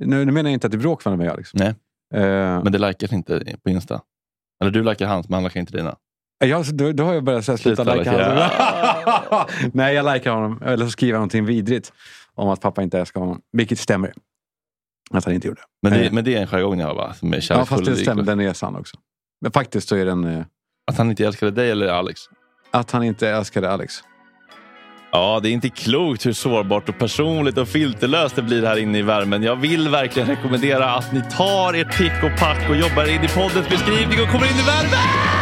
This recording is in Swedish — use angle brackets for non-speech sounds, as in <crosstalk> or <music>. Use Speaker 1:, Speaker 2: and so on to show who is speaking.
Speaker 1: Nu, nu menar jag inte att det är bråk mellan mig och Alex.
Speaker 2: Nej.
Speaker 1: Eh,
Speaker 2: Men det likas inte på Insta. Eller du likar hans, men han likar inte dina.
Speaker 1: Ja, så då, då har jag börjat så här, sluta
Speaker 2: Sluta
Speaker 1: likea
Speaker 2: likea.
Speaker 1: honom. <laughs> Nej, jag likar honom. Eller så skriver jag någonting vidrigt om att pappa inte älskar honom. Vilket stämmer. Att han inte gjorde.
Speaker 2: Men det,
Speaker 1: Eh.
Speaker 2: men det är en jargong ni har va? Som är
Speaker 1: Ja, fast
Speaker 2: kärleksfull
Speaker 1: det
Speaker 2: och
Speaker 1: stämmer.
Speaker 2: liknande.
Speaker 1: Den är sann också. Men faktiskt så är den eh,
Speaker 2: Att han inte älskade dig eller Alex?
Speaker 1: att han inte älskade Alex.
Speaker 2: Ja, det är inte klokt hur sårbart och personligt och filterlöst det blir här inne i värmen. Jag vill verkligen rekommendera att ni tar ert pick och pack och jobbar in i poddens beskrivning och kommer in i värmen!